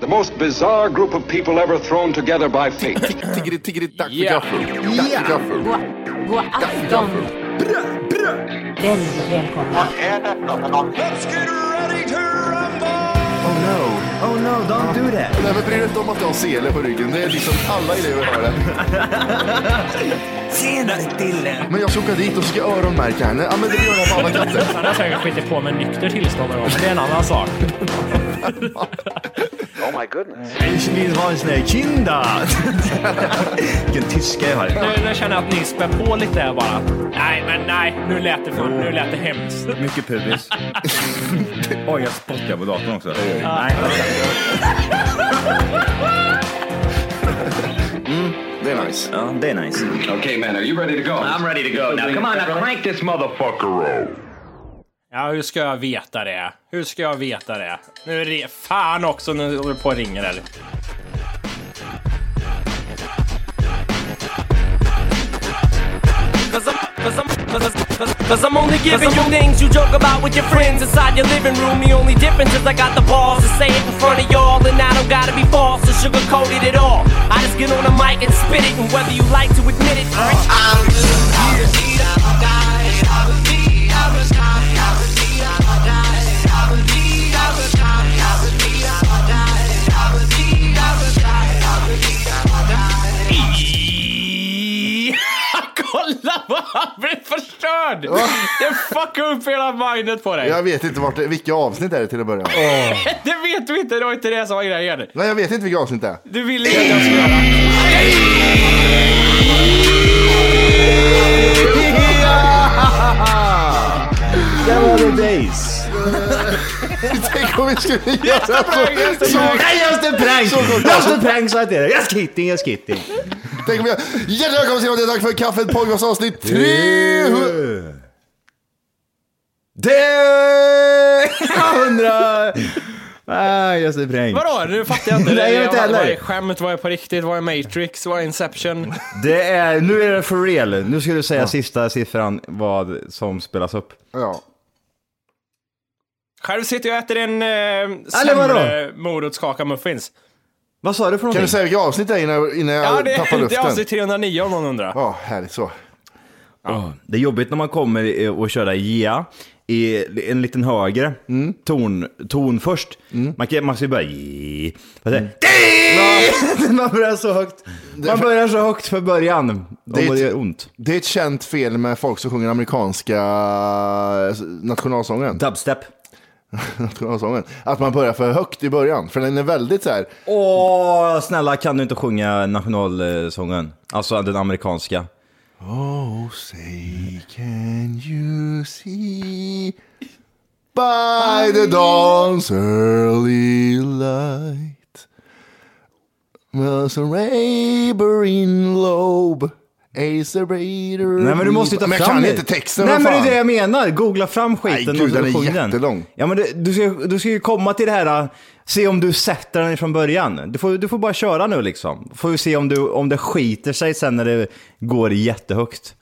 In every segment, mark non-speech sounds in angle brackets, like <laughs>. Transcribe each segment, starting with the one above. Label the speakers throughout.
Speaker 1: The most bizarre group of people ever thrown together by fate.
Speaker 2: Tiggeri, tiggeri, tack för gaffel. Tack för gaffel.
Speaker 3: God, god afton. Väldigt välkomna.
Speaker 2: Oh no.
Speaker 4: Oh no, don't do that!
Speaker 2: Nej men bry dig inte om att jag har sele på ryggen. Det är liksom alla elever har det.
Speaker 4: Senare Dille!
Speaker 2: Men jag ska åka dit och ska öronmärka henne. Ja men det gör jag på alla katter.
Speaker 5: Han har säkert skitit på med nykter tillstånd och det är en annan sak.
Speaker 4: Ich vill ha en sån här
Speaker 6: <laughs>
Speaker 4: kinda! Vilken tyska jag har.
Speaker 5: Nu, nu känner jag att ni spär på lite här bara. Nej, men nej. Nu lät det för, nu lät det hemskt.
Speaker 6: Mycket <laughs> pubis. Oj, jag spottar på datorn också. Nej,
Speaker 2: Det är nice.
Speaker 6: ja, det är nice.
Speaker 1: okay, man, are you ready to go? I'm ready to go. Now, come on, now crank this motherfucker up.
Speaker 5: Ja, hur ska jag veta det? Hur ska jag veta det? Nu är det... Fan också, nu håller du på och ringer eller?
Speaker 7: Cause I'm, cause I'm, cause, cause, cause I'm only giving you things you joke about with your friends inside your living room. The only difference is I got the balls to say it in front of y'all, and I don't gotta be false or sugarcoat it at all. I just get on the mic and spit it, and whether you like to admit it,
Speaker 8: Uh.
Speaker 5: <laughs> Kolla vad han blev förstörd! Det fuckade upp hela mindet på dig.
Speaker 2: Jag vet inte vart, det- vilka avsnitt är det till att börja med.
Speaker 5: Det vet du inte, det var inte det som var grejen.
Speaker 2: Nej jag vet inte vilka avsnitt det <laughs> är.
Speaker 5: Du ville inte att jag
Speaker 4: <clears throat>
Speaker 5: skulle göra.
Speaker 4: Där var det Days!
Speaker 2: Tänk om vi skulle göra så. så
Speaker 4: Nej, jag ska prank! Jag ska prank så att det är. Jag ska hitting, jag ska hitting.
Speaker 2: tänk om jag... Hjärtligt välkomna ska ni vara till Tack för kaffet podcast avsnitt 300.
Speaker 4: Det... 100! Nej, jag ska prank.
Speaker 5: Vadå? Nu fattar jag inte.
Speaker 4: Nej, jag vet inte
Speaker 5: Vad
Speaker 4: heller.
Speaker 5: är skämt? Vad är på riktigt? Vad är Matrix? Vad är Inception?
Speaker 6: Det är, nu är det for real. Nu ska du säga sista siffran vad som spelas upp.
Speaker 2: Ja.
Speaker 5: Själv sitter jag och äter en eh,
Speaker 6: vadå?
Speaker 5: sämre morotskaka muffins.
Speaker 6: Vad sa
Speaker 2: Kan
Speaker 6: du för
Speaker 2: du
Speaker 6: någonting?
Speaker 2: säga vilka avsnitt det är innan, innan jag
Speaker 5: Ja, det,
Speaker 2: tappar
Speaker 5: det är
Speaker 2: luften?
Speaker 5: avsnitt 309 om någon undrar.
Speaker 2: Ja, härligt så.
Speaker 6: Åh, Det är jobbigt när man kommer eh, och kör ja i en liten högre ton, ton först. Man, kan, man ska ju bara... ge. Man säger, "Dee!" <laughs> Man börjar så högt. Man börjar så högt för början.
Speaker 2: är
Speaker 6: Det, det
Speaker 2: ett-
Speaker 6: gör ont.
Speaker 2: Det är ett känt fel med folk som sjunger amerikanska eh, nationalsången.
Speaker 6: Dubstep.
Speaker 2: nationalsången. Att man börjar för högt i början, för den är väldigt så här.
Speaker 6: Åh, snälla kan du inte sjunga nationalsången? Alltså den amerikanska.
Speaker 2: Oh, say can you see by the dawn's early light was a neighboring lobe Ace
Speaker 6: Nej men du måste ju ta
Speaker 2: Mm. Men jag
Speaker 6: fram
Speaker 2: kan
Speaker 6: det.
Speaker 2: inte texten,
Speaker 6: Nej
Speaker 2: vad
Speaker 6: men det är
Speaker 2: fan.
Speaker 6: det jag menar. Googla fram
Speaker 2: Nej,
Speaker 6: skiten
Speaker 2: gud,
Speaker 6: och
Speaker 2: den är
Speaker 6: sjung den.
Speaker 2: jättelång.
Speaker 6: Ja men det, du, ska, du ska ju komma till det här, äh, se om du sätter den från början. Du får, du får bara köra nu liksom. Får ju se om, du, om det skiter sig sen när det går jättehögt.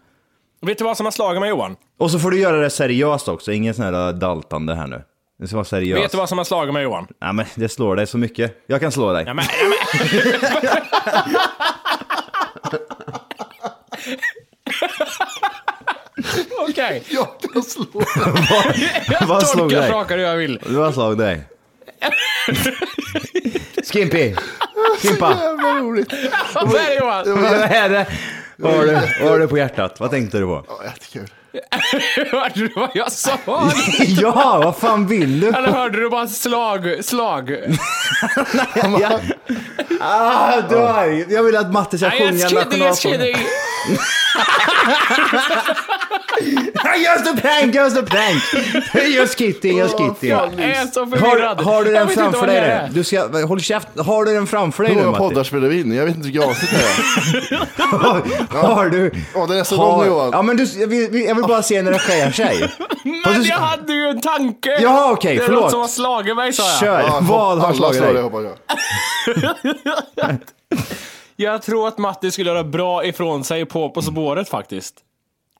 Speaker 5: Vet du vad som har slagit mig Johan?
Speaker 6: Och så får du göra det seriöst också, ingen sån här äh, daltande här nu. Det ska vara seriöst.
Speaker 5: Vet du vad som har slagit mig Johan?
Speaker 6: Nej men det slår dig så mycket. Jag kan slå dig.
Speaker 5: Ja, men, ja, men. Okej, dig!
Speaker 2: Jag kan slå
Speaker 5: Jag
Speaker 6: <laughs> Vad slog
Speaker 5: tolkar
Speaker 6: dig?
Speaker 5: saker jag vill.
Speaker 6: Vad
Speaker 5: <laughs>
Speaker 6: slog dig? Skimpy! Skimpa!
Speaker 2: Jävla roligt.
Speaker 5: Vad är det Johan?
Speaker 6: Vad är det? Vad har du, <laughs> vad har du på hjärtat? Vad tänkte du på?
Speaker 2: Ja, Jättekul.
Speaker 5: <laughs> Hörde du vad jag sa?
Speaker 6: <laughs> Ja, vad fan vill du?
Speaker 5: Eller hörde du bara slag, slag?
Speaker 6: Ja. Ah, dör. Jag vill att Matte ska
Speaker 5: Nej,
Speaker 6: sjunga
Speaker 5: jag skidde, jag
Speaker 6: nationalsången.
Speaker 5: skidde.
Speaker 6: Just a prank, just a
Speaker 5: <laughs>
Speaker 6: prank! Just kidding, just kidding.
Speaker 5: Jag är så
Speaker 6: Har,
Speaker 5: förvirrad.
Speaker 6: har du
Speaker 5: Jag
Speaker 6: den
Speaker 5: vet inte
Speaker 6: framför
Speaker 5: vad
Speaker 6: dig
Speaker 5: det
Speaker 6: nu?
Speaker 5: är.
Speaker 6: Du ska, håll käften. Har du den framför dig
Speaker 2: Hur
Speaker 6: nu
Speaker 2: många
Speaker 6: Matti?
Speaker 2: poddar spelar vi in? Jag vet inte hur gasigt det
Speaker 6: <laughs>
Speaker 2: är.
Speaker 6: Har du?
Speaker 2: Ja, det är så
Speaker 6: har,
Speaker 2: lång, Johan.
Speaker 6: Ja, men du, jag vill, jag vill bara se när det sker sig. Fast
Speaker 5: <laughs> Men
Speaker 6: du-
Speaker 5: jag hade ju en tanke!
Speaker 6: Jaha, okej,
Speaker 5: Det är något
Speaker 6: förlåt.
Speaker 5: som har slagit mig sa jag.
Speaker 6: Kör. Vad har
Speaker 2: alla
Speaker 6: slagit
Speaker 2: slår
Speaker 6: dig?
Speaker 2: det, hoppas jag.
Speaker 5: Jag tror att Matti skulle göra bra ifrån sig på På spåret faktiskt.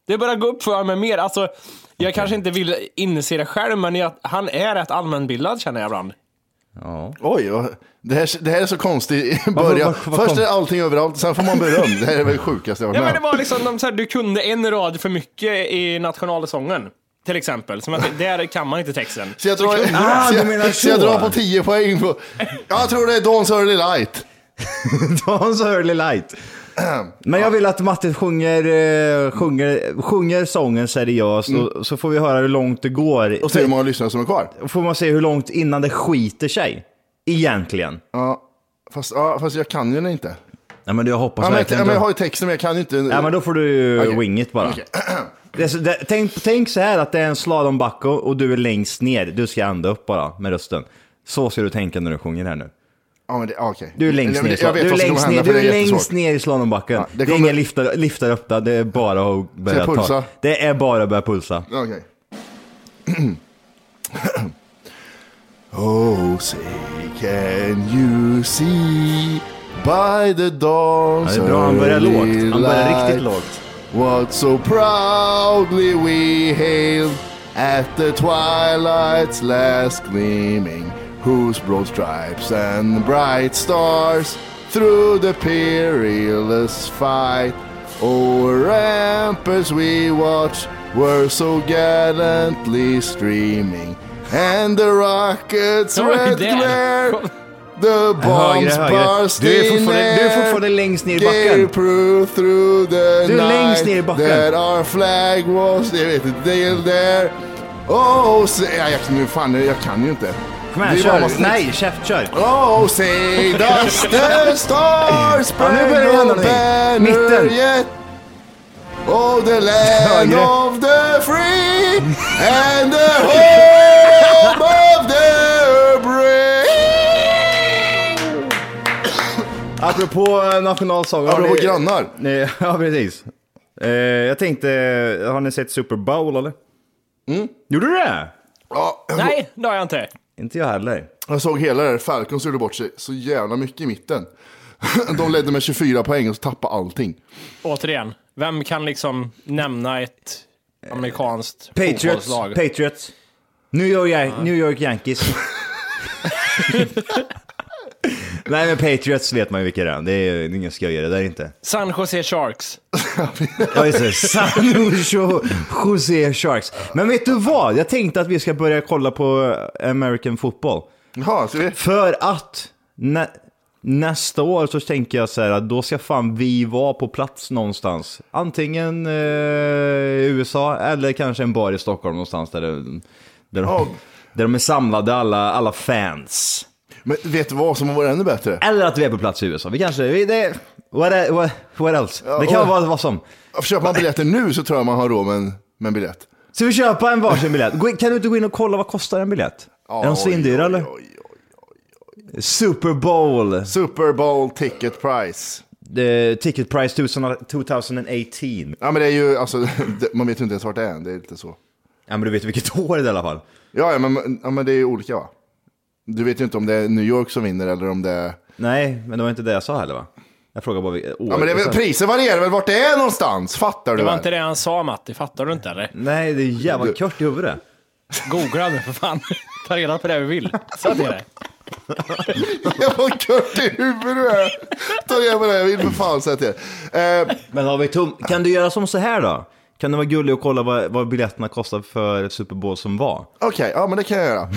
Speaker 5: Det börjar gå upp för mig mer. Alltså, jag kanske inte vill inse det själv, men jag, han är rätt allmänbildad känner jag ibland.
Speaker 2: Oj, vad- det här, det här är så konstigt i början.
Speaker 6: vad- vad
Speaker 2: Först
Speaker 6: kom-
Speaker 2: är allting överallt, sen får man beröm. Det här är väl det sjukaste jag
Speaker 5: Ja, men
Speaker 2: varit
Speaker 5: det
Speaker 2: med om.
Speaker 5: var liksom, de, så här, du kunde en rad för mycket i nationalsången. Till exempel. Som att, där kan man inte texten.
Speaker 2: Så jag, drar,
Speaker 6: Ah,
Speaker 2: så
Speaker 6: du menar
Speaker 2: jag, så jag
Speaker 6: så.
Speaker 2: drar på 10 poäng. På, jag tror det är Dawn's Early Light.
Speaker 6: Dawn's Early Light. Men jag vill att Matte sjunger, eh, sjunger, sjunger sången seriöst och, så får vi höra hur långt det går.
Speaker 2: Mm. Och se hur många lyssnare som är kvar.
Speaker 6: får man se hur långt innan det skiter sig. Egentligen.
Speaker 2: Ja, fast, ja, fast jag kan ju den inte.
Speaker 6: Nej men jag hoppas
Speaker 2: Ja, men, jag,
Speaker 6: verkligen
Speaker 2: men jag
Speaker 6: inte.
Speaker 2: har ju texten men jag kan ju inte.
Speaker 6: Ja men då får du
Speaker 2: Okej.
Speaker 6: wing it bara.
Speaker 2: Okej. <clears throat>
Speaker 6: Det är så, det, tänk, tänk så här att det är en slalombacke och du är längst ner. Du ska ända upp bara med rösten. Så ska du tänka när du sjunger här nu.
Speaker 2: Ja, men det, ja, okej.
Speaker 6: Du är längst
Speaker 2: Jag-
Speaker 6: ner, i
Speaker 2: Jag
Speaker 6: sla-
Speaker 2: vet
Speaker 6: du är
Speaker 2: vad som kommer
Speaker 6: längst, ner,
Speaker 2: hända för
Speaker 6: du
Speaker 2: det
Speaker 6: är
Speaker 2: är
Speaker 6: längst
Speaker 2: jättesvårt.
Speaker 6: ner i slalombacken.
Speaker 2: Ja, det
Speaker 6: det, är
Speaker 2: kommer-
Speaker 6: inga liftar, liftar upp där, det är bara att börja
Speaker 2: jag
Speaker 6: ta.
Speaker 2: pulsa?
Speaker 6: Det är bara att börja pulsa.
Speaker 2: Okej. <clears throat> oh, say can you see by the dawn's
Speaker 6: Ja, det är bra, han börjar
Speaker 2: early
Speaker 6: lågt. Han börjar
Speaker 2: light
Speaker 6: riktigt lågt.
Speaker 2: What so proudly we hailed at the twilight's last gleaming, whose broad stripes and bright stars through the perilous fight o'er ramparts we watched were so gallantly streaming, and the rockets'
Speaker 5: Oh,
Speaker 2: red
Speaker 5: damn.
Speaker 2: glare. The
Speaker 6: Högre,
Speaker 2: bombs
Speaker 6: högre.
Speaker 2: burst
Speaker 6: Du är
Speaker 2: in
Speaker 6: fortfarande, du är
Speaker 2: air.
Speaker 6: fortfarande längst ner i
Speaker 2: Gave
Speaker 6: backen.
Speaker 2: proof through the
Speaker 6: Du är längst
Speaker 2: night
Speaker 6: ner i backen.
Speaker 2: That our flag was... Jag vet inte, det är där. Oh, say... Ja, jag, nu fan, jag kan ju inte.
Speaker 6: Kom här,
Speaker 2: Det är bara
Speaker 6: kör.
Speaker 2: snyggt.
Speaker 6: Nej, käft, kör.
Speaker 2: Oh, say
Speaker 6: <laughs>
Speaker 2: does the star
Speaker 6: börjar det hända
Speaker 2: spangled
Speaker 6: någonting.
Speaker 2: banner
Speaker 6: Mitten.
Speaker 2: yet? Oh,
Speaker 6: <laughs>
Speaker 2: the land
Speaker 6: Högre.
Speaker 2: of the
Speaker 6: <laughs>
Speaker 2: free and the home of the brave
Speaker 6: Apropå eh, nationalsången. har
Speaker 2: Apropå
Speaker 6: ni-
Speaker 2: grannar.
Speaker 6: Nej, <laughs> Ja, precis. Eh, Jag tänkte, har ni sett Super Bowl eller?
Speaker 2: Mm.
Speaker 6: Gjorde du det?
Speaker 2: Ja,
Speaker 5: Nej, det har jag inte.
Speaker 6: Inte jag heller.
Speaker 2: Jag såg hela det här, Falcons gjorde bort sig så jävla mycket i mitten. <laughs> De ledde med 24 poäng och så tappade allting.
Speaker 5: Återigen, vem kan liksom nämna ett amerikanskt
Speaker 6: Patriots.
Speaker 5: fotbollslag?
Speaker 6: Patriots. New York, New York Yankees. Nej men Patriots vet man ju vilka det är. Det är ju ingen skojare där inte.
Speaker 5: San Jose Sharks.
Speaker 6: Ja just det. San Jose Sharks. Men vet du vad? Jag tänkte att vi ska börja kolla på American football.
Speaker 2: Jaha, så vi...
Speaker 6: För att nä nästa år så tänker jag så här att då ska fan vi vara på plats någonstans. Antingen eh, i USA eller kanske en bar i Stockholm någonstans där, det- där, de,
Speaker 2: Ja.
Speaker 6: där de är samlade alla, alla fans.
Speaker 2: Men vet du vad som var ännu bättre?
Speaker 6: Eller att vi är på plats i USA. Vi kanske, vi, det, what, e- what, what else? det kan
Speaker 2: och-
Speaker 6: vara vad som.
Speaker 2: Köper man biljetter nu så tror jag man har råd med en, med en biljett.
Speaker 6: Så vi köpa en varsin biljett? Gå in- Kan du inte gå in och kolla vad kostar en biljett? är de
Speaker 2: Oj,
Speaker 6: svindyra
Speaker 2: oj,
Speaker 6: eller?
Speaker 2: oj, oj.
Speaker 6: Super Bowl,
Speaker 2: Super Bowl ticket price.
Speaker 6: eh, ticket price 2000 2018.
Speaker 2: Ja men det är ju, alltså, <laughs> det- man vet ju inte ens vart det är än, det är lite så.
Speaker 6: Ja men du vet vilket <laughs> år det är i alla fall.
Speaker 2: Ja, ja, men, ja men det är ju olika va? Du vet ju inte om det är New York som vinner eller om det är...
Speaker 6: Nej, men det var inte det jag sa heller va? Jag frågar bara vilket år.
Speaker 2: Ja men det är väl,
Speaker 6: Och sen-
Speaker 2: priser varierar väl vart det är någonstans, fattar du
Speaker 5: Det var
Speaker 2: väl?
Speaker 5: inte det han sa Matti, fattar du inte eller?
Speaker 6: Nej, det är jävla kört i huvudet.
Speaker 5: Googla nu för fan. <laughs> Ta reda på det vi vill. Så det är det.
Speaker 2: Jag var kört i huvudet du är. Ta reda på det, jag vill för fan säga till er. Eh,
Speaker 6: Men har vi tum... Kan du göra som så här då? Kan du vara gullig och kolla vad, vad biljetterna kostar för Super Bowl som var?
Speaker 2: Okej, ja men det kan jag göra.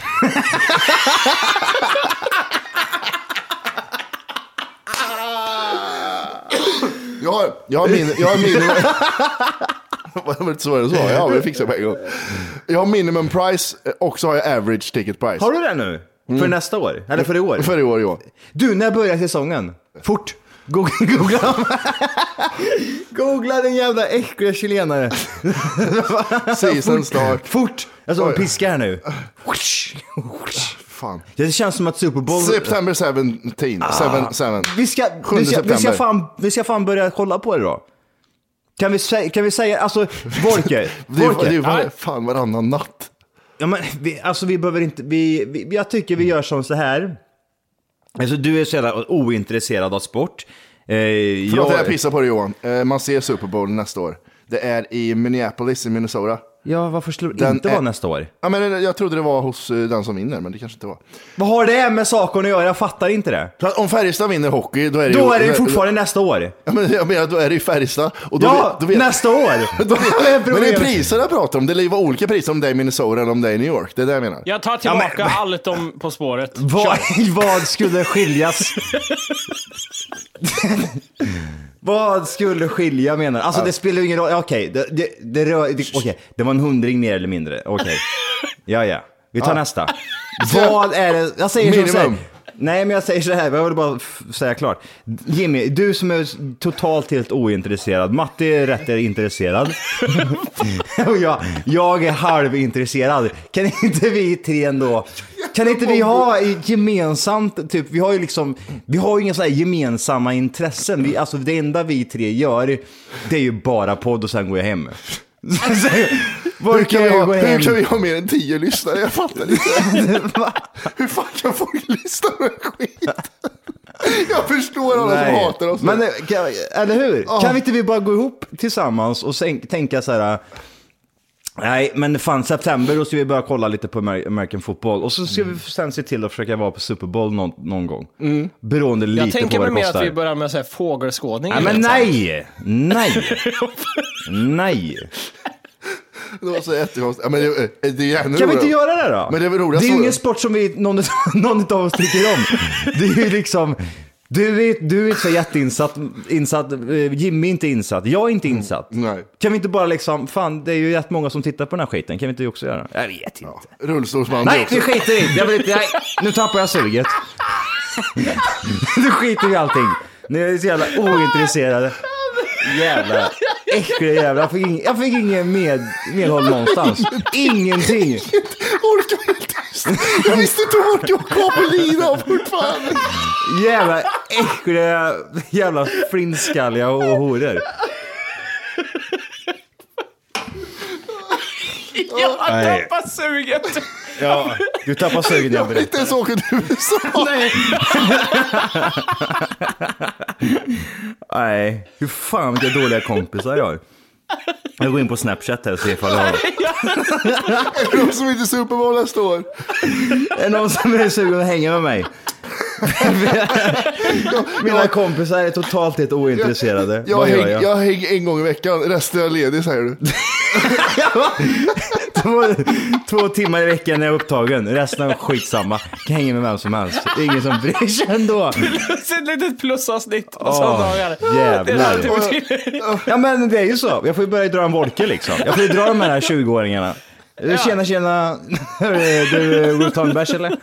Speaker 2: Jag har, jag har min... Jag har minimum... Var det inte svårare än så? Ja, men det fixar jag på en gång. Jag har minimum price eh, och så har jag average ticket price.
Speaker 6: Har du det nu? För nästa år? Eller för i år?
Speaker 2: Mm. För i år, ja.
Speaker 6: Du, när börjar säsongen? Fort! Goog- Googla, <laughs> Googla den jävla äckliga chilenare.
Speaker 2: Season start.
Speaker 6: Fort! Jag står och
Speaker 2: Oj.
Speaker 6: piskar här nu.
Speaker 2: Fan.
Speaker 6: Det känns som att Super Bowl...
Speaker 2: September 17. 7, 7.
Speaker 6: Ah. Vi ska,
Speaker 2: Sjunde
Speaker 6: vi, ska, vi, ska
Speaker 2: september.
Speaker 6: fan, vi ska fan börja kolla på det då. Kan vi, sä- kan vi säga, alltså <laughs> Volker,
Speaker 2: Det är, det är
Speaker 6: Volker.
Speaker 2: var, fan varannan natt.
Speaker 6: Ja, men, vi, alltså vi behöver inte, vi, vi, jag tycker vi gör som så här. Alltså du är så jävla ointresserad av sport. Eh,
Speaker 2: Förlåt att jag pissar på dig Johan. Eh, Man ser Super Bowl nästa år. Det är i Minneapolis i Minnesota.
Speaker 6: Ja, varför skulle det
Speaker 2: Den
Speaker 6: inte
Speaker 2: är-
Speaker 6: vara nästa år?
Speaker 2: Ja, men jag trodde det var hos eh, den som vinner, men det kanske inte var.
Speaker 6: Vad har det med saken att göra? Jag fattar inte det.
Speaker 2: Så att om Färjestad vinner hockey, då är det
Speaker 6: Då
Speaker 2: ju,
Speaker 6: är det ju fortfarande nästa år.
Speaker 2: Ja, men jag menar, då är det ju Färjestad. Och då
Speaker 6: Ja,
Speaker 2: vet- då vet-
Speaker 6: nästa
Speaker 2: <laughs>
Speaker 6: år! <laughs>
Speaker 2: Då vet- men det är
Speaker 6: problemet.
Speaker 2: priser jag pratar om. Det lär ju vara olika priser om det är i Minnesota eller om det är i New York. Det är det jag menar.
Speaker 5: Jag tar tillbaka allt om På spåret.
Speaker 6: Vad, <laughs> vad skulle skiljas? vad skulle skilja menar du? Alltså det spelar ju ingen roll. Ja, Okej, det, det, det, rör- det, okej. det var en hundring mer eller mindre. Okej. Ja, ja. Vi tar <laughs> nästa. Vad är det? Jag säger som så här.
Speaker 2: Minimum.
Speaker 6: Nej, men jag säger så här. Jag vill bara f- säga klart. Jimmy, du som är totalt helt ointresserad. Matti är rätt är intresserad. <laughs> Och jag, jag är halvintresserad. Kan inte vi tre ändå... Kan inte vi ha gemensamt, typ, vi har ju liksom, vi har ju inga sådana här gemensamma intressen. Vi, alltså det enda vi tre gör, det är ju bara podd och sen går
Speaker 2: <laughs>
Speaker 6: jag hem. Så,
Speaker 2: Hur kan, vi
Speaker 6: jag
Speaker 2: ha,
Speaker 6: gå
Speaker 2: hur
Speaker 6: hem?
Speaker 2: kan vi ha mer än tio lyssnare? Jag fattar inte. <laughs>
Speaker 6: <laughs>
Speaker 2: hur fan kan folk <laughs> lyssna på den skit? Jag förstår alla som
Speaker 6: Nej.
Speaker 2: hatar oss.
Speaker 6: Men, eh, kan, eller hur? Kan vi inte vi bara gå ihop tillsammans och sen, tänka så här. eh, Nej, men fan september då ska vi börja kolla lite på Amer- American football och så ska
Speaker 2: Mm.
Speaker 6: vi sen se till att försöka vara på Super Bowl någon, någon gång. Beroende
Speaker 5: Jag
Speaker 6: lite på
Speaker 5: tänker
Speaker 6: vad
Speaker 5: mig
Speaker 6: det
Speaker 5: mer
Speaker 6: kostar.
Speaker 5: att vi börjar med så här fågelskådning.
Speaker 6: Nej,
Speaker 5: <laughs>
Speaker 6: men nej! Nej! nej!
Speaker 2: Det var så jättekonstigt. Ja, men det, eh, det är ju ännu
Speaker 6: Kan vi inte
Speaker 2: roligare.
Speaker 6: göra det då?
Speaker 2: Men det är väl roligast
Speaker 6: Det är ju
Speaker 2: så-
Speaker 6: ingen sport som vi, någon, någon av <laughs> oss tycker om. Det är ju liksom, du är, du är inte så jätteinsatt, insatt, eh, Jimmy är inte insatt, jag är inte insatt.
Speaker 2: Mm. nej.
Speaker 6: Kan vi inte bara liksom, fan det är ju rätt många som tittar på den här skiten, kan vi inte också göra det? Jag vet inte.
Speaker 2: Rullstolsman. det
Speaker 6: Nej,
Speaker 2: också.
Speaker 6: vi skiter i det. Jag vill inte, nej, nu tappar jag suget. <laughs> nu skiter vi i allting. Nu är vi så jävla ointresserade. Jävla äckliga jävla. Jag fick, ing, jag fick ingen med,
Speaker 2: <laughs>
Speaker 6: medhåll någonstans. Ingenting.
Speaker 2: orkar inte. Jag visste inte vart jag kom på linan fortfarande.
Speaker 6: Jävla äckliga jävla flintskalliga och horor.
Speaker 5: Jag har
Speaker 6: Nej.
Speaker 5: tappat suget.
Speaker 6: Ja, du tappar suget när jag
Speaker 2: Inte ens åka till USA.
Speaker 6: Nej. Nej, hur fan vilka dåliga kompisar jag har. Jag går in på Snapchat här och ser ifall jag har...
Speaker 2: De som inte är Super Bowl nästa år.
Speaker 6: Är det någon som är sugen att hänga med <laughs> mig? Mina kompisar är totalt helt ointresserade.
Speaker 2: Jag
Speaker 6: Vad gör
Speaker 2: häng,
Speaker 6: jag?
Speaker 2: jag häng en gång i veckan, resten är ledig säger du.
Speaker 6: två, två timmar i veckan är jag upptagen, resten är skitsamma. Kan hänga med vem som helst. Det är ingen som bryr sig ändå.
Speaker 5: Plus ett litet plusavsnitt på söndagar.
Speaker 6: jävlar.
Speaker 5: Det är typ-
Speaker 6: Ja men det är ju så. Jag får ju börja dra en volke liksom. Jag får ju dra de här 20-åringarna. Eh, Tjena tjena. Hörru, Du, eh, Rotonbärs eller?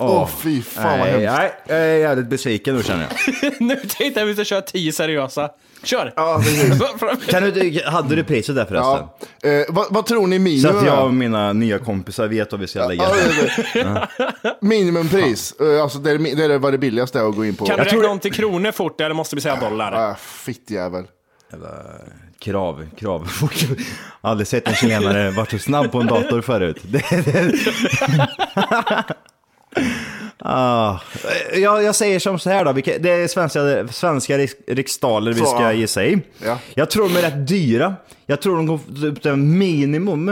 Speaker 2: Åh fy fan vad hemskt.
Speaker 6: nej, nej, jag är jävligt besviken nu känner jag.
Speaker 5: <laughs> nu tänkte jag att vi ska köra tio seriösa. Kör!
Speaker 2: Ja, precis.
Speaker 6: Kan du, hade du priset där förresten?
Speaker 2: ja. eh, vad, vad tror ni
Speaker 6: Så att
Speaker 2: minimum
Speaker 6: jag och
Speaker 2: är?
Speaker 6: mina nya kompisar vet vad vi ska lägga.
Speaker 2: Ja, det är det. Minimumpris, Eh, alltså det är, det är vad det billigaste är att gå in på.
Speaker 5: Kan du
Speaker 6: tror
Speaker 5: räkna
Speaker 6: det-
Speaker 5: om till kronor fort eller måste vi säga dollar?
Speaker 2: Ah, Fittjävel.
Speaker 6: Krav, krav. <laughs> Aldrig sett en chilenare varit så snabb på en dator förut. <laughs> Det- det- ah. jag, jag säger som så här då, vilka- det är svenska, svenska riks- riksdaler vi
Speaker 2: Så, ja.
Speaker 6: ska ge sig
Speaker 2: Ja.
Speaker 6: Jag tror de är rätt dyra. Jag tror de går upp till minimum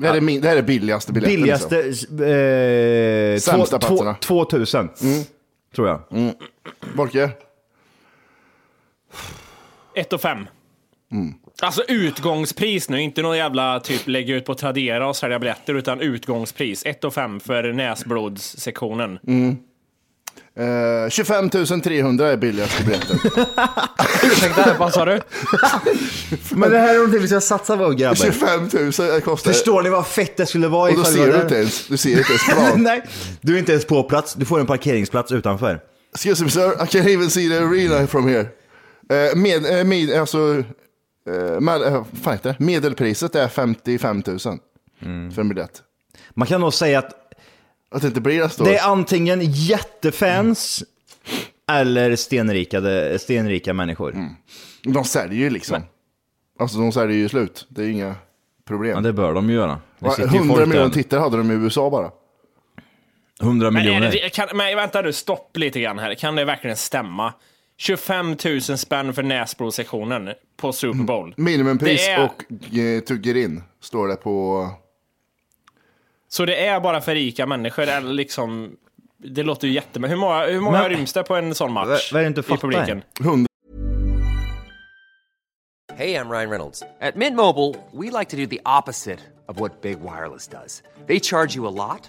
Speaker 2: Det här är, min, det här är billigaste biljetten.
Speaker 6: billigaste,
Speaker 2: Liksom.
Speaker 6: eh, två-
Speaker 2: Sämsta
Speaker 6: två-
Speaker 2: platserna. Mm.
Speaker 6: 2000. Tror
Speaker 2: liksom.
Speaker 6: jag.
Speaker 2: Borke?
Speaker 5: Ett och fem.
Speaker 6: Mm.
Speaker 5: Alltså utgångspris nu, inte någon jävla typ lägga ut på Tradera och sälja biljetter, utan utgångspris. 1 5 för näsblodssektionen.
Speaker 6: Mm.
Speaker 2: Eh, 25 300 är billigaste <laughs> biljetten.
Speaker 5: Ursäkta, vad sa du?
Speaker 6: Men det här är någonting vi ska satsa på grabbar.
Speaker 2: 25 000 kostar
Speaker 6: Förstår ni vad fett det skulle vara
Speaker 2: Och då
Speaker 6: ifall vi
Speaker 2: ser du
Speaker 6: var där?
Speaker 2: inte ens, du ser inte ens <laughs> plan.
Speaker 6: <laughs> Nej, du är inte ens på plats. Du får en parkeringsplats utanför.
Speaker 2: Excuse me sir, I can't even see the arena from here. Eh, med, eh, med, alltså, eh, med, eh, fan heter det? medelpriset är 55 000 för en biljett.
Speaker 6: Man kan nog säga att
Speaker 2: Att det inte blir det
Speaker 6: det
Speaker 2: stort.
Speaker 6: är antingen jättefans eller stenrikade, stenrika människor.
Speaker 2: Mm. De säljer ju liksom. Alltså de säljer ju slut, det är inga
Speaker 6: Ja,
Speaker 2: problem.
Speaker 6: det bör de ju göra. Det
Speaker 2: Va,
Speaker 6: sitter ju
Speaker 2: 100
Speaker 6: folk
Speaker 2: miljoner
Speaker 6: där.
Speaker 2: tittare hade de i USA bara.
Speaker 6: 100
Speaker 5: Men, är
Speaker 6: miljoner.
Speaker 5: det, kan, men vänta nu, stopp lite grann här. Kan det verkligen stämma? 25 000 spänn för näsbrosektionen på Super Bowl.
Speaker 2: Minimumpris
Speaker 5: Det är-
Speaker 2: och eh, tugger in står det på.
Speaker 5: Så det är bara för rika människor, eller liksom... Det låter ju jättemycket. Hur många, hur många
Speaker 6: Men-
Speaker 5: ryms det på en sån match?
Speaker 6: Vad- vad är det inte
Speaker 5: i
Speaker 6: fattar?
Speaker 5: publiken?
Speaker 2: 100
Speaker 7: Hey, I'm Ryan Reynolds. At Mint Mobile, we like to do the opposite of what Big Wireless does. They charge you a lot,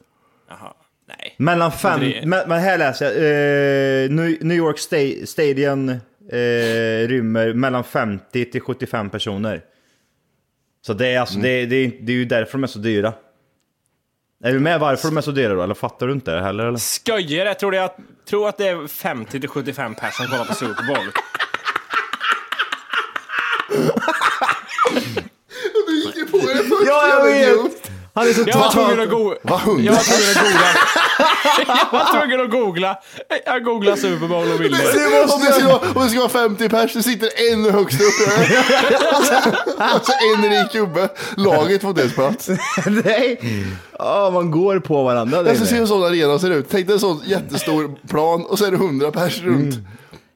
Speaker 5: Jaha, nej.
Speaker 6: Mellan fem...
Speaker 5: Det-
Speaker 6: Men, men här läser jag. eh, New, New York Sta- Stadium eh, rymmer mellan 50 till 75 personer. Så det är, alltså,
Speaker 2: Mm.
Speaker 6: det, det, är- det är ju därför de är så dyra. Är du med varför de är så dyra då? Eller fattar du inte det heller? Eller?
Speaker 5: Skojar jag tror, det att, tror att det är 50-75 personer som kollar på Super Bowl.
Speaker 2: Du gick ju på det först.
Speaker 6: Ja, jag vet! Han är så
Speaker 5: Jag var
Speaker 6: totalt-
Speaker 5: tvungen att googla.
Speaker 2: Vad hundra?
Speaker 5: Jag var tvungen att googla. <laughs> Jag var tvungen att googla. Jag googlade Super Bowl och bilder.
Speaker 2: Det måste om, det ska vara, om det ska vara 50 pers, det sitter en högst upp. Och så- och så Alltså, en rik gubbe. Laget får inte ens plats.
Speaker 6: <laughs> Nej! Ja, man går på varandra där
Speaker 2: Jag ska se
Speaker 6: inne.
Speaker 2: hur en sån arena ser ut. Tänk dig en sån jättestor plan och så är det 100 pers runt.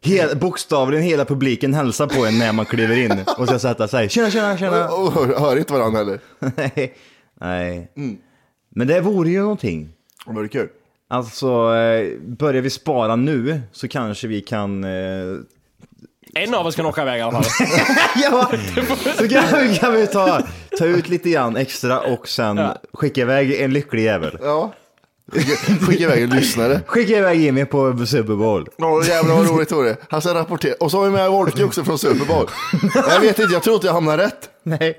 Speaker 6: Hel, Bokstavligen hela publiken hälsar på en när man kliver in <laughs> och ska sätta sig. Tjena, tjena, tjena!
Speaker 2: Och hör, hör inte varandra heller.
Speaker 6: <laughs> Nej. Nej. Men det vore ju någonting.
Speaker 2: Det vore kul.
Speaker 6: Alltså, eh, börjar vi spara nu så kanske vi kan... Eh,
Speaker 5: En av oss kan åka iväg i alla fall.
Speaker 6: ja, <laughs> så kan, kan vi ta, ta ut lite grann extra och sen skicka iväg en lycklig jävel.
Speaker 2: Ja. Skicka, skicka iväg en lyssnare.
Speaker 6: Skicka iväg Jimmy på Super Bowl.
Speaker 2: Åh
Speaker 6: <laughs>
Speaker 2: jävlar vad roligt vore det. Han ska rapportera. Och så har vi med Wolke också från Super Bowl. Jag vet inte, jag tror inte jag hamnar rätt.
Speaker 6: <laughs> Nej.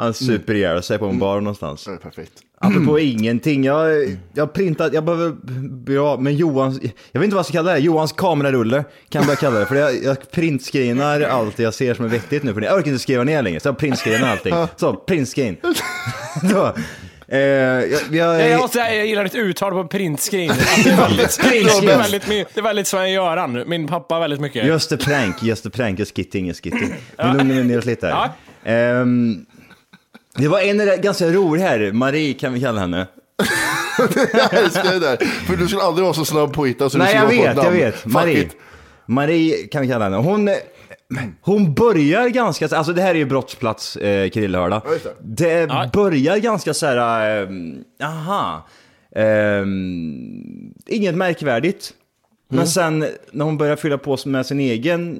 Speaker 6: Han super ihjäl sig på en bar någonstans.
Speaker 2: Det är perfekt.
Speaker 6: Apropå ingenting, jag, jag har printat, jag behöver, ja, men Johans, jag vet inte vad jag ska kalla det, Johans kamerarulle kan jag börja kalla det. För jag, jag printscreenar allt jag ser som är vettigt nu, för jag orkar inte skriva ner längre. Så jag printscreenar allting. Så, printscreen. Så, eh, jag, jag,
Speaker 5: Jag måste säga, jag gillar ditt uttal på
Speaker 6: <laughs>
Speaker 5: printscreen. Att Det är väldigt, det är väldigt, my- det är väldigt Sven-Göran. Min pappa väldigt mycket.
Speaker 6: Just the prank, just the prank, just skitting, just skitting. Nu lugnar vi ner oss lite här. Ehm, det var en där- ganska rolig här, Marie kan vi kalla henne.
Speaker 2: Jag älskar det där. För du skulle aldrig vara så snabb på att hitta så du
Speaker 6: Nej,
Speaker 2: skulle
Speaker 6: jag
Speaker 2: vara på ett
Speaker 6: vet, jag
Speaker 2: namn.
Speaker 6: vet.
Speaker 2: Fuck
Speaker 6: Marie.
Speaker 2: it.
Speaker 6: Marie kan vi kalla henne. Hon, hon börjar ganska, alltså det här är ju brottsplats eh, Krillhörda.
Speaker 2: Ja, just
Speaker 6: Det börjar ganska så ehm, här, eh, aha, eh, inget Ehm, märkvärdigt. Men
Speaker 2: Mm.
Speaker 6: sen när hon börjar fylla på med sin egen,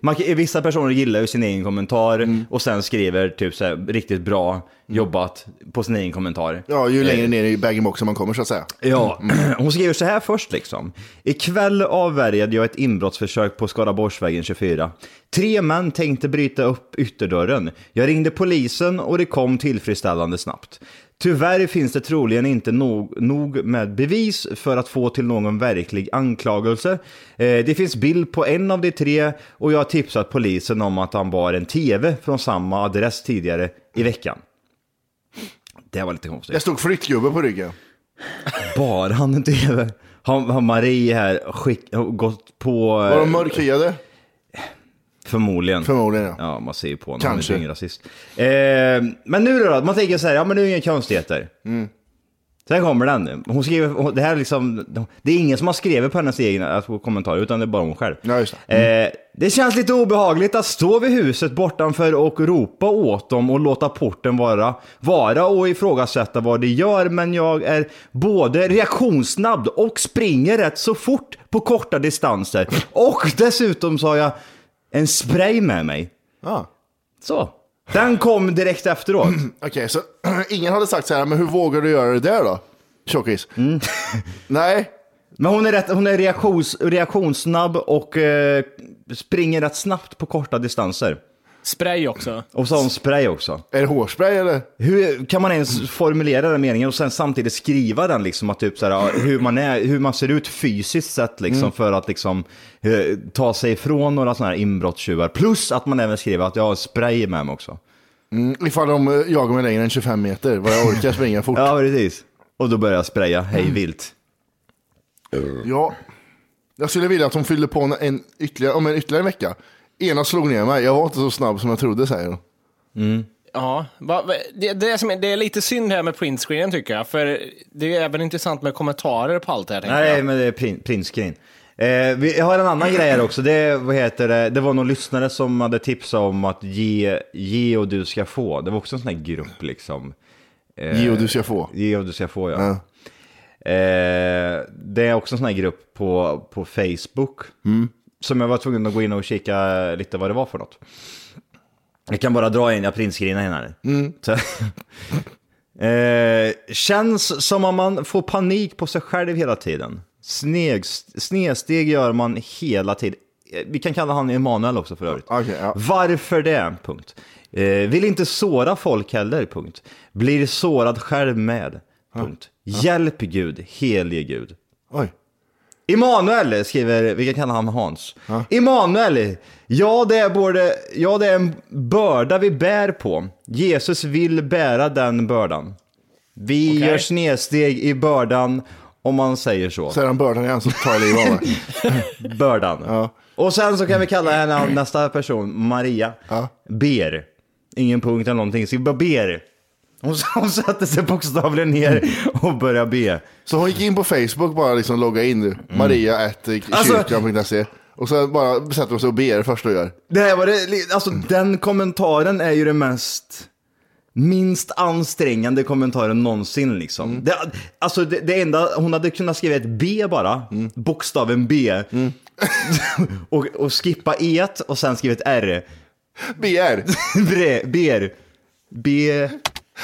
Speaker 6: man, kan- vissa personer gillar ju sin egen kommentar
Speaker 2: Mm.
Speaker 6: och sen skriver typ så här, riktigt bra jobbat på sin egen kommentar.
Speaker 2: Ja, ju
Speaker 6: Eh,
Speaker 2: längre ner i bag-in-boxen man kommer så att säga.
Speaker 6: Ja, <clears throat> hon skriver så här först liksom. Ikväll avvärjade jag ett inbrottsförsök på Skaraborgsvägen 24. Tre män tänkte bryta upp ytterdörren. Jag ringde polisen och det kom tillfredsställande snabbt. Tyvärr finns det troligen inte nog, nog med bevis för att få till någon verklig anklagelse. Eh, det finns bild på en av de tre och jag har tipsat polisen om att han bar en TV från samma adress tidigare i veckan. Det var lite konstigt.
Speaker 2: Det stod flyttgubbe på ryggen.
Speaker 6: Bar han en TV? Har, har Marie här skick, har gått på... eh,
Speaker 2: Var de mörkhyade?
Speaker 6: Förmodligen.
Speaker 2: Förmodligen, ja.
Speaker 6: Ja, man ser ju på honom.
Speaker 2: Kanske.
Speaker 6: Han är ju ingen rasist. Eh, men nu då, man tänker så här, ja men nu är det inga konstigheter.
Speaker 2: Mm.
Speaker 6: Sen kommer den. Hon skriver, hon- det här är liksom, det är ingen som har skrivit på hennes egna alltså, kommentarer, utan det är bara hon själv.
Speaker 2: Ja, just det.
Speaker 6: Eh, det känns lite obehagligt att stå vid huset bortanför och ropa åt dem och låta porten vara, vara och ifrågasätta vad de gör, men jag är både reaktionssnabb och springer rätt så fort på korta distanser. Och dessutom så har jag en spray med mig.
Speaker 2: Ja.
Speaker 6: Så. Den kom direkt efteråt.
Speaker 2: Okej, så <clears throat> ingen hade sagt så här, men hur vågar du göra det där då? Tjockis.
Speaker 6: Mm.
Speaker 2: Nej,
Speaker 6: <clears throat> Men hon är, rätt, hon är reaktions, reaktionssnabb och eh, springer rätt snabbt på korta distanser.
Speaker 5: Spray också.
Speaker 6: Och så har hon spray också.
Speaker 2: är det hårspray eller?
Speaker 6: Hur kan man ens formulera den meningen och sen samtidigt skriva den liksom att typ så här, ja, hur, man är, hur man ser ut fysiskt sett liksom för att liksom eh, ta sig ifrån några sådana här inbrottstjuvar. Plus att man även skriver att jag har spray med mig också.
Speaker 2: Mm, Ifall de eh, jagar mig längre än 25 meter, vad jag orkar
Speaker 6: <laughs>
Speaker 2: springa fort.
Speaker 6: Ja, precis. Och då börjar jag spraya hej vilt.
Speaker 2: Ja. Jag skulle vilja att hon fyllde på en, en ytterligare, om en ytterligare vecka. Ena slog ner mig, jag var inte så snabb som jag trodde säger hon.
Speaker 5: Ja, va, va, det, det, är som, är- det är lite synd här med printscreenen tycker jag, för det är även intressant med kommentarer på allt det här. tänker
Speaker 6: Nej,
Speaker 5: jag.
Speaker 6: men det är prin- printscreen. Eh, vi har en annan grej här också. Det, vad heter det? det var någon lyssnare som hade tipsat om att ge, ge och du ska få. Det var också en sån här grupp liksom.
Speaker 2: Ge och du ska få.
Speaker 6: Ge och du ska få, ja. Eh, det är också en sån här grupp på, på Facebook.
Speaker 5: Mm.
Speaker 6: Som jag var tvungen att gå in och kika lite vad det var för något. Jag kan bara dra in, jag printscreenar henne här.
Speaker 2: Mm.
Speaker 6: Så- <laughs> eh, känns som om man får panik på sig själv hela tiden. Sneg, snedsteg gör man hela tiden. Eh, Vi kan kalla han Emanuel också för övrigt.
Speaker 2: Okej, ja.
Speaker 6: Varför det? Punkt. Eh, vill inte såra folk heller. Punkt. Blir sårad själv med. Punkt. Hjälp Gud, helige Gud.
Speaker 2: Oj.
Speaker 6: Emanuel skriver, vi kan kalla han Hans. Emanuel, ja det, är både, ja det är en börda vi bär på. Jesus vill bära den bördan. Vi
Speaker 5: Okej.
Speaker 6: gör snedsteg i bördan, om man säger så.
Speaker 2: Säger han bördan igen så tar jag livet av mig.
Speaker 6: Bördan. Och sen så kan vi kalla henne nästa person, Maria.
Speaker 2: Ja.
Speaker 6: Ber. Ingen punkt eller någonting, så vi bara ber. Hon, <laughs> hon sätter sig bokstavligen ner och börjar be.
Speaker 2: Så hon gick in på Facebook bara liksom logga in nu.
Speaker 6: Mm.
Speaker 2: eh,
Speaker 6: Alltså-
Speaker 2: Maria.kyrkan.se. Och så bara sätter hon sig och ber först och gör.
Speaker 6: Det här var det, li- alltså
Speaker 2: Mm.
Speaker 6: den kommentaren är ju den mest, minst ansträngande kommentaren någonsin liksom.
Speaker 2: Mm.
Speaker 6: Det, alltså det, det enda, hon hade kunnat skriva ett B bara,
Speaker 2: Mm.
Speaker 6: bokstaven B. <laughs> och, och skippa E och sen skriva ett R. <laughs>
Speaker 2: BR.
Speaker 6: Bre, ber. B.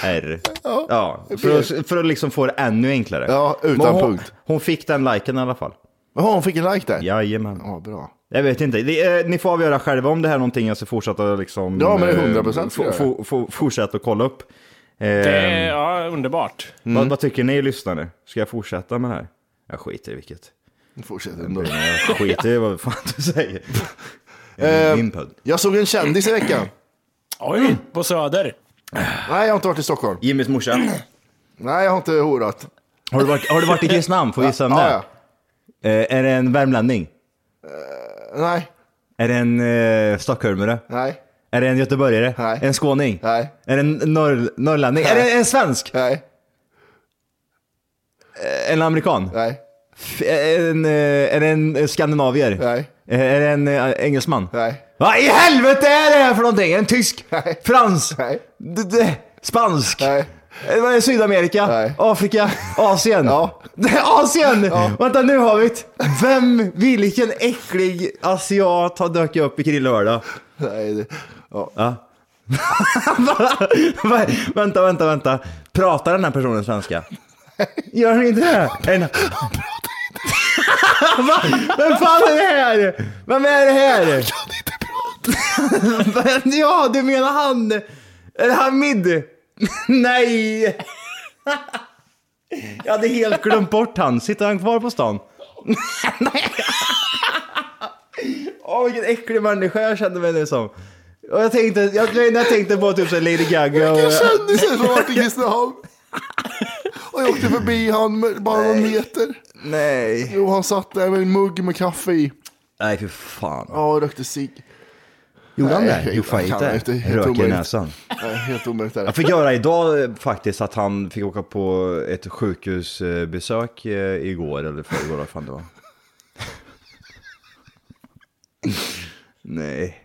Speaker 6: R. Ja, för att, för att liksom få det ännu enklare.
Speaker 2: Ja, utan
Speaker 6: Men hon,
Speaker 2: punkt.
Speaker 6: Hon fick den liken i alla fall.
Speaker 2: Jaha, hon fick en like där?
Speaker 6: Jajamän.
Speaker 2: Ja, bra.
Speaker 6: Jag vet inte. Det, eh, ni får avgöra själva om det här är någonting jag ska fortsätta liksom...
Speaker 2: Ja, men det är
Speaker 6: eh,
Speaker 2: 100% ska
Speaker 6: få-
Speaker 2: jag
Speaker 6: få- få- Fortsätta att kolla upp. Eh,
Speaker 5: Det är, ja, underbart.
Speaker 2: Mm.
Speaker 6: vad, vad tycker ni lyssnare? Ska jag fortsätta med det här? Jag skiter i vilket.
Speaker 2: Nu fortsätter ändå.
Speaker 6: Jag skiter i vad fan
Speaker 2: <laughs>
Speaker 6: du säger. Eh, Min podd.
Speaker 2: Jag såg en kändis i veckan.
Speaker 5: Oj, Mm. på Söder.
Speaker 2: Nej, jag har inte varit i Stockholm.
Speaker 6: Jimmys morsa.
Speaker 2: Nej, jag har inte horat.
Speaker 6: Har du varit, har du varit i Kristinehamn? Får
Speaker 2: <laughs>
Speaker 6: vi gissa om det?
Speaker 2: Ja, ja.
Speaker 6: Eh, är det en värmlänning?
Speaker 2: Nej,
Speaker 6: Är det en eh, stockholmare?
Speaker 2: nej,
Speaker 6: Är det en göteborgare?
Speaker 2: Nej.
Speaker 6: Är det en skåning?
Speaker 2: Nej.
Speaker 6: Är det en norr, norrlänning? Är det en svensk?
Speaker 2: nej,
Speaker 6: En amerikan?
Speaker 2: nej,
Speaker 6: F- Är det en, eh, är det en skandinavier?
Speaker 2: Nej.
Speaker 6: Eh, Är det en eh, engelsman?
Speaker 2: nej.
Speaker 6: Vad i helvete är det här för någonting? Är det en tysk?
Speaker 2: Nej.
Speaker 6: Frans?
Speaker 2: Nej.
Speaker 6: D- d- Spansk?
Speaker 2: Nej.
Speaker 6: Eh, vad är Sydamerika, Afrika,
Speaker 2: <laughs>
Speaker 6: Asien. Asien! Vänta, nu har vi ett. Vem, vilken äcklig asiat har dök upp i <laughs> Krillhörda?
Speaker 2: Nej, det, ja.
Speaker 6: Va- vänta, vänta, vänta. Pratar den här personen svenska? Gör han inte det? En... <laughs> Va? Vem fan är det här? Vem är det här? Jag kan inte prata. <laughs> ja, du menar han? Är det Hamid? <laughs> Nej! Jag hade helt glömt bort han. Sitter han kvar på stan? <laughs> Nej. Åh, vilken äcklig människa jag kände mig nu som. Och jag tänkte, jag, när jag tänkte på typ så här Lady Gaga och...
Speaker 2: Vilken kändis är det
Speaker 6: <laughs>
Speaker 2: som har varit i Kristinehamn? Och jag åkte förbi han med bara någon meter.
Speaker 6: Nej.
Speaker 2: Jo, han satt där med en mugg med kaffe i.
Speaker 6: Nej, för fan.
Speaker 2: Ja, och rökte cigg.
Speaker 6: Gjorde han
Speaker 2: Nej,
Speaker 6: det?
Speaker 2: jag-
Speaker 6: Jo, fan
Speaker 2: jag kan inte.
Speaker 6: inte.
Speaker 2: Helt
Speaker 6: Rök i
Speaker 2: omöjligt.
Speaker 6: näsan.
Speaker 2: Nej, Helt omöjligt är det.
Speaker 6: Jag fick göra idag eh, faktiskt att han fick åka på ett sjukhusbesök eh, igår eller förrgår, vad fan det var. Nej.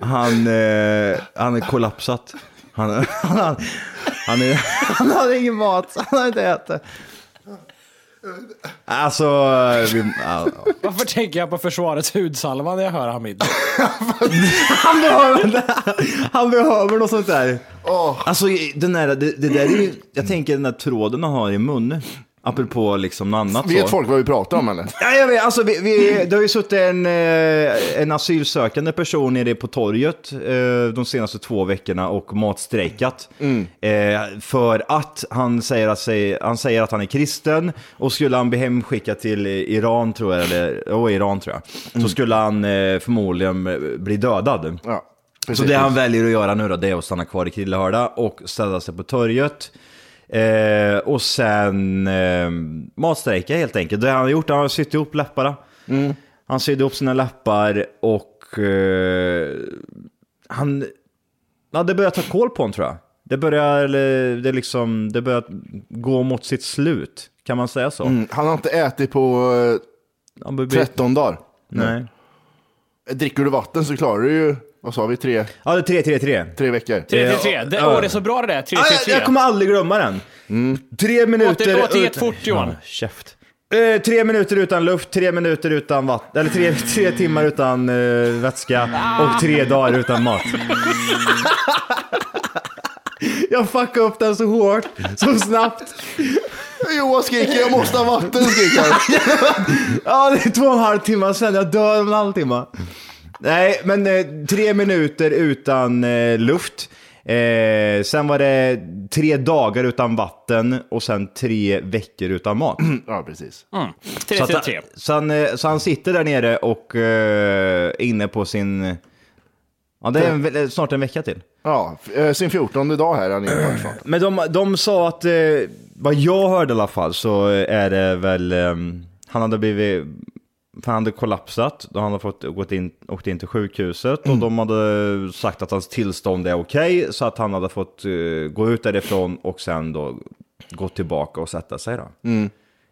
Speaker 6: han, eh, han är kollapsat. Han, han, han, han, är, han har ingen mat, han har inte ätit. Alltså, vi, ja, ja.
Speaker 5: Varför tänker jag på försvarets hudsalva när jag hör Hamid?
Speaker 6: Han behöver, han behöver något sånt där. Alltså den där, det, det där är ju, jag tänker den där tråden man har i munnen. Apropå liksom något annat
Speaker 2: Vet
Speaker 6: så.
Speaker 2: folk vad vi pratar om eller?
Speaker 6: Ja, jag vet, alltså, vi, vi, det har ju suttit en, eh, en asylsökande person nere på torget eh, de senaste två veckorna och matstrejkat.
Speaker 2: Mm.
Speaker 6: Eh, för att han säger, att sig, han säger att han är kristen och skulle han bli hemskickad till Iran tror jag, eller oh, Iran tror jag,
Speaker 2: Mm.
Speaker 6: så skulle han eh, förmodligen eh, bli dödad.
Speaker 2: Ja,
Speaker 6: Så
Speaker 2: precis.
Speaker 6: det han väljer att göra nu då, det är att stanna kvar i Krillehörda och ställa sig på torget. Eh, och sen eh, matstrejka helt enkelt. Det han har gjort, han har sytt ihop läpparna.
Speaker 2: Mm.
Speaker 6: Han sydde ihop sina läppar och eh, han... Ja, det börjar ta koll på honom tror jag. Det börjar, eller, det är liksom, det börjar gå mot sitt slut. Kan man säga så?
Speaker 2: Mm, Han har inte ätit på
Speaker 6: Han börjar
Speaker 2: eh,
Speaker 6: bli-
Speaker 2: 13 dagar.
Speaker 6: Nej.
Speaker 2: Dricker du vatten så klarar du ju, vad sa vi, tre,
Speaker 6: Ja, det är 3-3-3.
Speaker 2: tre veckor?
Speaker 5: 333. Det, åh, det är så bra det där.
Speaker 6: Ah, jag,
Speaker 5: 333.
Speaker 6: jag kommer aldrig glömma den.
Speaker 2: Mm.
Speaker 6: Tre minuter...
Speaker 5: Åter- återgett
Speaker 6: ut-
Speaker 5: fort, Johan.
Speaker 6: Ja, käft. Eh, tre minuter utan luft, tre minuter utan vatten, eller tre, <laughs> tre timmar utan eh, vätska och tre dagar utan mat. <laughs> jag fuckade upp den så hårt, så snabbt.
Speaker 2: Johan skriker jag måste ha vatten, skriker han.
Speaker 6: <laughs> Ja, det är två och en halv timme sen, jag dör om en halvtimme. Nej, men eh, tre minuter utan eh, luft. Eh, sen var det tre dagar utan vatten och sen tre veckor utan mat.
Speaker 2: Ja, precis.
Speaker 6: Så, att,
Speaker 5: 333.
Speaker 6: så, han, eh, så han sitter där nere och eh, inne på sin... Ja, det är en, ve- snart en vecka till.
Speaker 2: Ja, f- eh, sin fjortonde dag här är han inne på.
Speaker 6: Men de, de sa att, eh, vad jag hörde i alla fall, så är det väl, eh, han hade blivit, för han hade kollapsat, då han hade fått gått in, åkt in till sjukhuset och de hade sagt att hans tillstånd är okej, så att han hade fått eh, gå ut därifrån och sen då gå tillbaka och sätta sig då.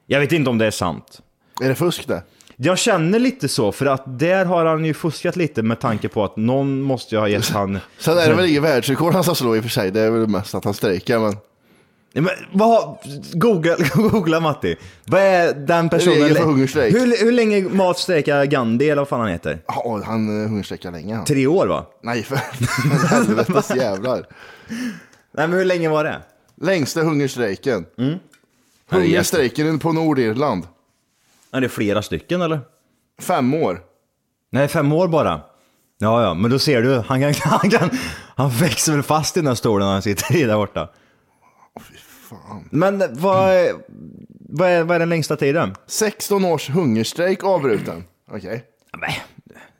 Speaker 6: Jag vet inte om det är sant.
Speaker 2: Är det fusk det?
Speaker 6: Jag känner lite så, för att där har han ju fuskat lite med tanke på att någon måste ju ha gett <laughs> han...
Speaker 2: Sen är det väl inget världsrekord han ska slå i och för sig. Det är väl mest att han strejkar. Men
Speaker 6: Nej, Men vad har... Googla, <laughs> googla Matti. Vad är den personen...
Speaker 2: Regel för hungerstrejk.
Speaker 6: Hur, hur länge matstrejkar Gandhi eller vad fan han heter?
Speaker 2: ja, han eh, hungerstrejkar länge han.
Speaker 6: Tre år va?
Speaker 2: Nej, för <laughs> helvetes jävlar.
Speaker 6: Nej men hur länge var det?
Speaker 2: Längsta hungerstrejken. Hungerstrejken på Nordirland.
Speaker 6: Är det flera stycken eller?
Speaker 2: Fem år.
Speaker 6: Nej, fem år bara. Ja, ja, men då ser du. Han kan... <laughs> Han, kan, han växer väl fast i den där stolen han sitter i där borta. Men vad är, vad, är, vad är den längsta tiden?
Speaker 2: 16 års hungerstrejk avbruten. Okej.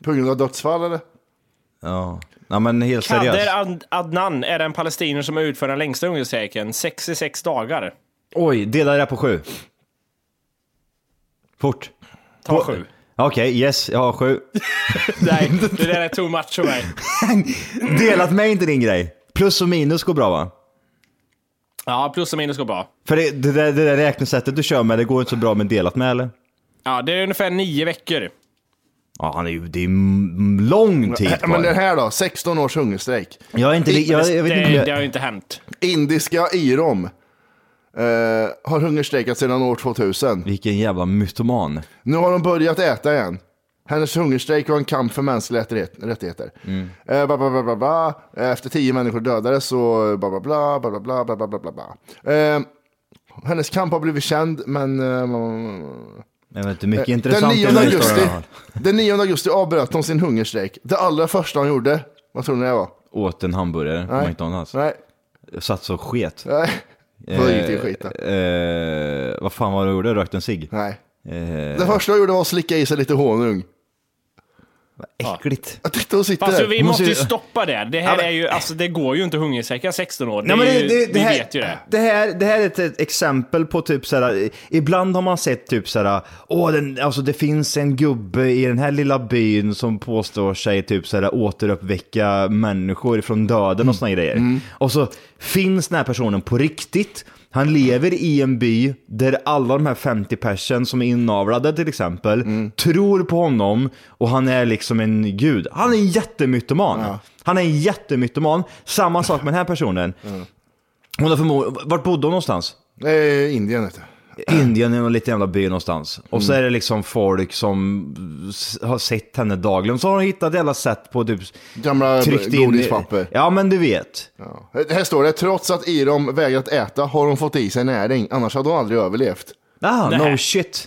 Speaker 2: På grund av dödsfall eller?
Speaker 6: Ja, ja men helt seriöst.
Speaker 5: Kader Ad- Adnan är den palestinier som har utfört den längsta hungerstrejken, 66 dagar.
Speaker 6: Oj, dela det på sju. Fort.
Speaker 5: Ta
Speaker 6: På-
Speaker 5: sju.
Speaker 6: Okej, yes, jag har sju. <laughs>
Speaker 5: Nej, det där är too much för mig.
Speaker 6: Delat med är inte din grej. Plus och minus går bra va?
Speaker 5: Ja, plus och minus går bra.
Speaker 6: För det, det, där, det där räknesättet du kör med, det går inte så bra med delat med eller?
Speaker 5: Ja, det är ungefär nio veckor.
Speaker 6: Ja, han är ju, det är m- lång tid
Speaker 2: Äh, Men den
Speaker 6: kvar.
Speaker 2: här då, 16 års hungerstrejk.
Speaker 6: Jag är inte, li- jag, jag vet
Speaker 5: det,
Speaker 6: inte.
Speaker 5: det har ju inte hänt.
Speaker 2: Indiska Irom eh, har hungerstrejkat sedan år 2000.
Speaker 6: Vilken jävla mytoman.
Speaker 2: Nu har de börjat äta igen. Hennes hungerstrejk var en kamp för mänskliga rättighet- rättigheter.
Speaker 6: Mm.
Speaker 2: Eh, bla, bla, bla, bla, bla. Efter tio människor dödades så bla bla bla bla bla bla bla bla bla. bla. Eh, hennes kamp har blivit känd men... Eh,
Speaker 6: Jag vet inte, mycket
Speaker 2: den
Speaker 6: intressant i
Speaker 2: 9
Speaker 6: den här
Speaker 2: augusti,
Speaker 6: historien. här.
Speaker 2: den 9 augusti avbröt hon sin hungerstrejk. Det allra första hon gjorde, vad tror ni det var?
Speaker 6: Åt en hamburgare på
Speaker 2: Nej.
Speaker 6: McDonalds.
Speaker 2: Nej,
Speaker 6: Jag satt så sket.
Speaker 2: nej. Då gick det i skit då.
Speaker 6: Eh, eh, vad fan var det du gjorde? Rökt en cigg?
Speaker 2: Nej.
Speaker 6: Eh,
Speaker 2: Det första hon gjorde var att slicka i sig lite honung.
Speaker 6: äckligt.
Speaker 2: Jag tyckte hon sitter
Speaker 5: Fast
Speaker 2: där.
Speaker 5: vi
Speaker 6: måste
Speaker 5: måste ju
Speaker 6: ju-
Speaker 5: stoppa det. Det
Speaker 6: Ja,
Speaker 5: här
Speaker 6: men-
Speaker 5: är ju, alltså det går ju inte att hungerstrejka 16 år. Det,
Speaker 6: Nej, men
Speaker 5: är ju, vi
Speaker 6: här,
Speaker 5: vet ju det.
Speaker 6: Det här, det här är ett, ett exempel på typ såhär, ibland har man sett typ såhär, åh den, alltså det finns en gubbe i den här lilla byn som påstår sig typ såhär återuppväcka människor från döden
Speaker 5: Mm.
Speaker 6: och såna grejer. Och så finns den här personen på riktigt. Han lever i en by där alla de här 50 personer som är inavlade till exempel
Speaker 5: Mm.
Speaker 6: tror på honom och han är liksom en gud. Han är en jättemytoman. Han är en jättemytoman. Samma sak med den här personen. Hon har förmodligen, vart bodde
Speaker 2: <clears throat>
Speaker 6: hon någonstans?
Speaker 2: Eh, Indien vet du.
Speaker 6: Indien i någon liten jävla by någonstans. Och
Speaker 2: Mm.
Speaker 6: så är det liksom folk som s- har sett henne dagligen. Så har hon hittat jävla sätt på typ
Speaker 2: Gamla
Speaker 6: tryckt in...
Speaker 2: Äh, godispapper.
Speaker 6: Ja men du vet.
Speaker 2: Ja. Här står det, trots att Irom vägrat äta har hon fått i sig näring, annars hade hon aldrig överlevt.
Speaker 6: Ah,
Speaker 5: Nej.
Speaker 6: no shit.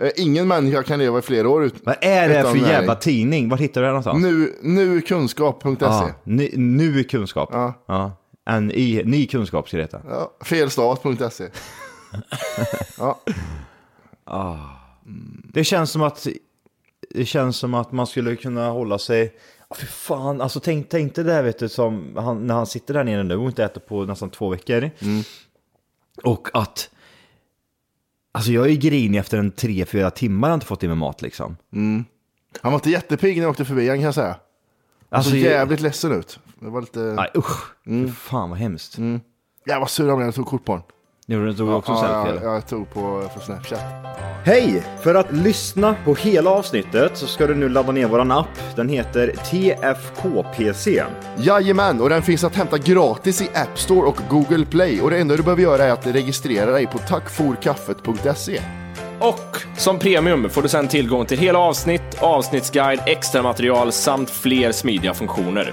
Speaker 2: Eh, ingen människa kan leva i flera år ut,
Speaker 6: Vad är det här
Speaker 2: utan
Speaker 6: för
Speaker 2: näring.
Speaker 6: jävla tidning? Vart hittar du det här någonstans?
Speaker 2: Nu, nukunskap.se.
Speaker 6: ah, ny, nu är kunskap. Ja. En i, ny kunskap ska det heta.
Speaker 2: Ja, felstavat.se.
Speaker 6: Det känns som att det känns som att man skulle kunna hålla sig... Ah, För fan, alltså tänk, tänk det där vet du som han, när han sitter där nere nu och inte äter på nästan två veckor.
Speaker 2: Mm.
Speaker 6: Och att... Alltså jag är ju grinig efter en tre, fyra timmar har jag inte fått i mig mat liksom.
Speaker 2: Han var inte jättepigg när jag åkte förbi han kan jag säga. Han
Speaker 6: Alltså,
Speaker 2: såg
Speaker 6: jag-
Speaker 2: jävligt ledsen ut. Det var lite...
Speaker 6: Nej usch,
Speaker 2: Mm.
Speaker 6: Fy fan vad hemskt.
Speaker 2: Jag var sur om jag tog kort på honom.
Speaker 6: Gjorde du tog också en selfie
Speaker 2: Mm. Ja,
Speaker 6: eller?
Speaker 2: jag, jag tog på eh, för Snapchat.
Speaker 6: Hej! För att lyssna på hela avsnittet så ska du nu ladda ner våran app. Den heter TFKPC.
Speaker 2: Jajamän, och den finns att hämta gratis i App Store och Google Play. Och det enda du behöver göra är att registrera dig på tackforkaffet.se.
Speaker 5: Och som premium får du sedan tillgång till hela avsnitt, avsnittsguide, extra material samt fler smidiga funktioner.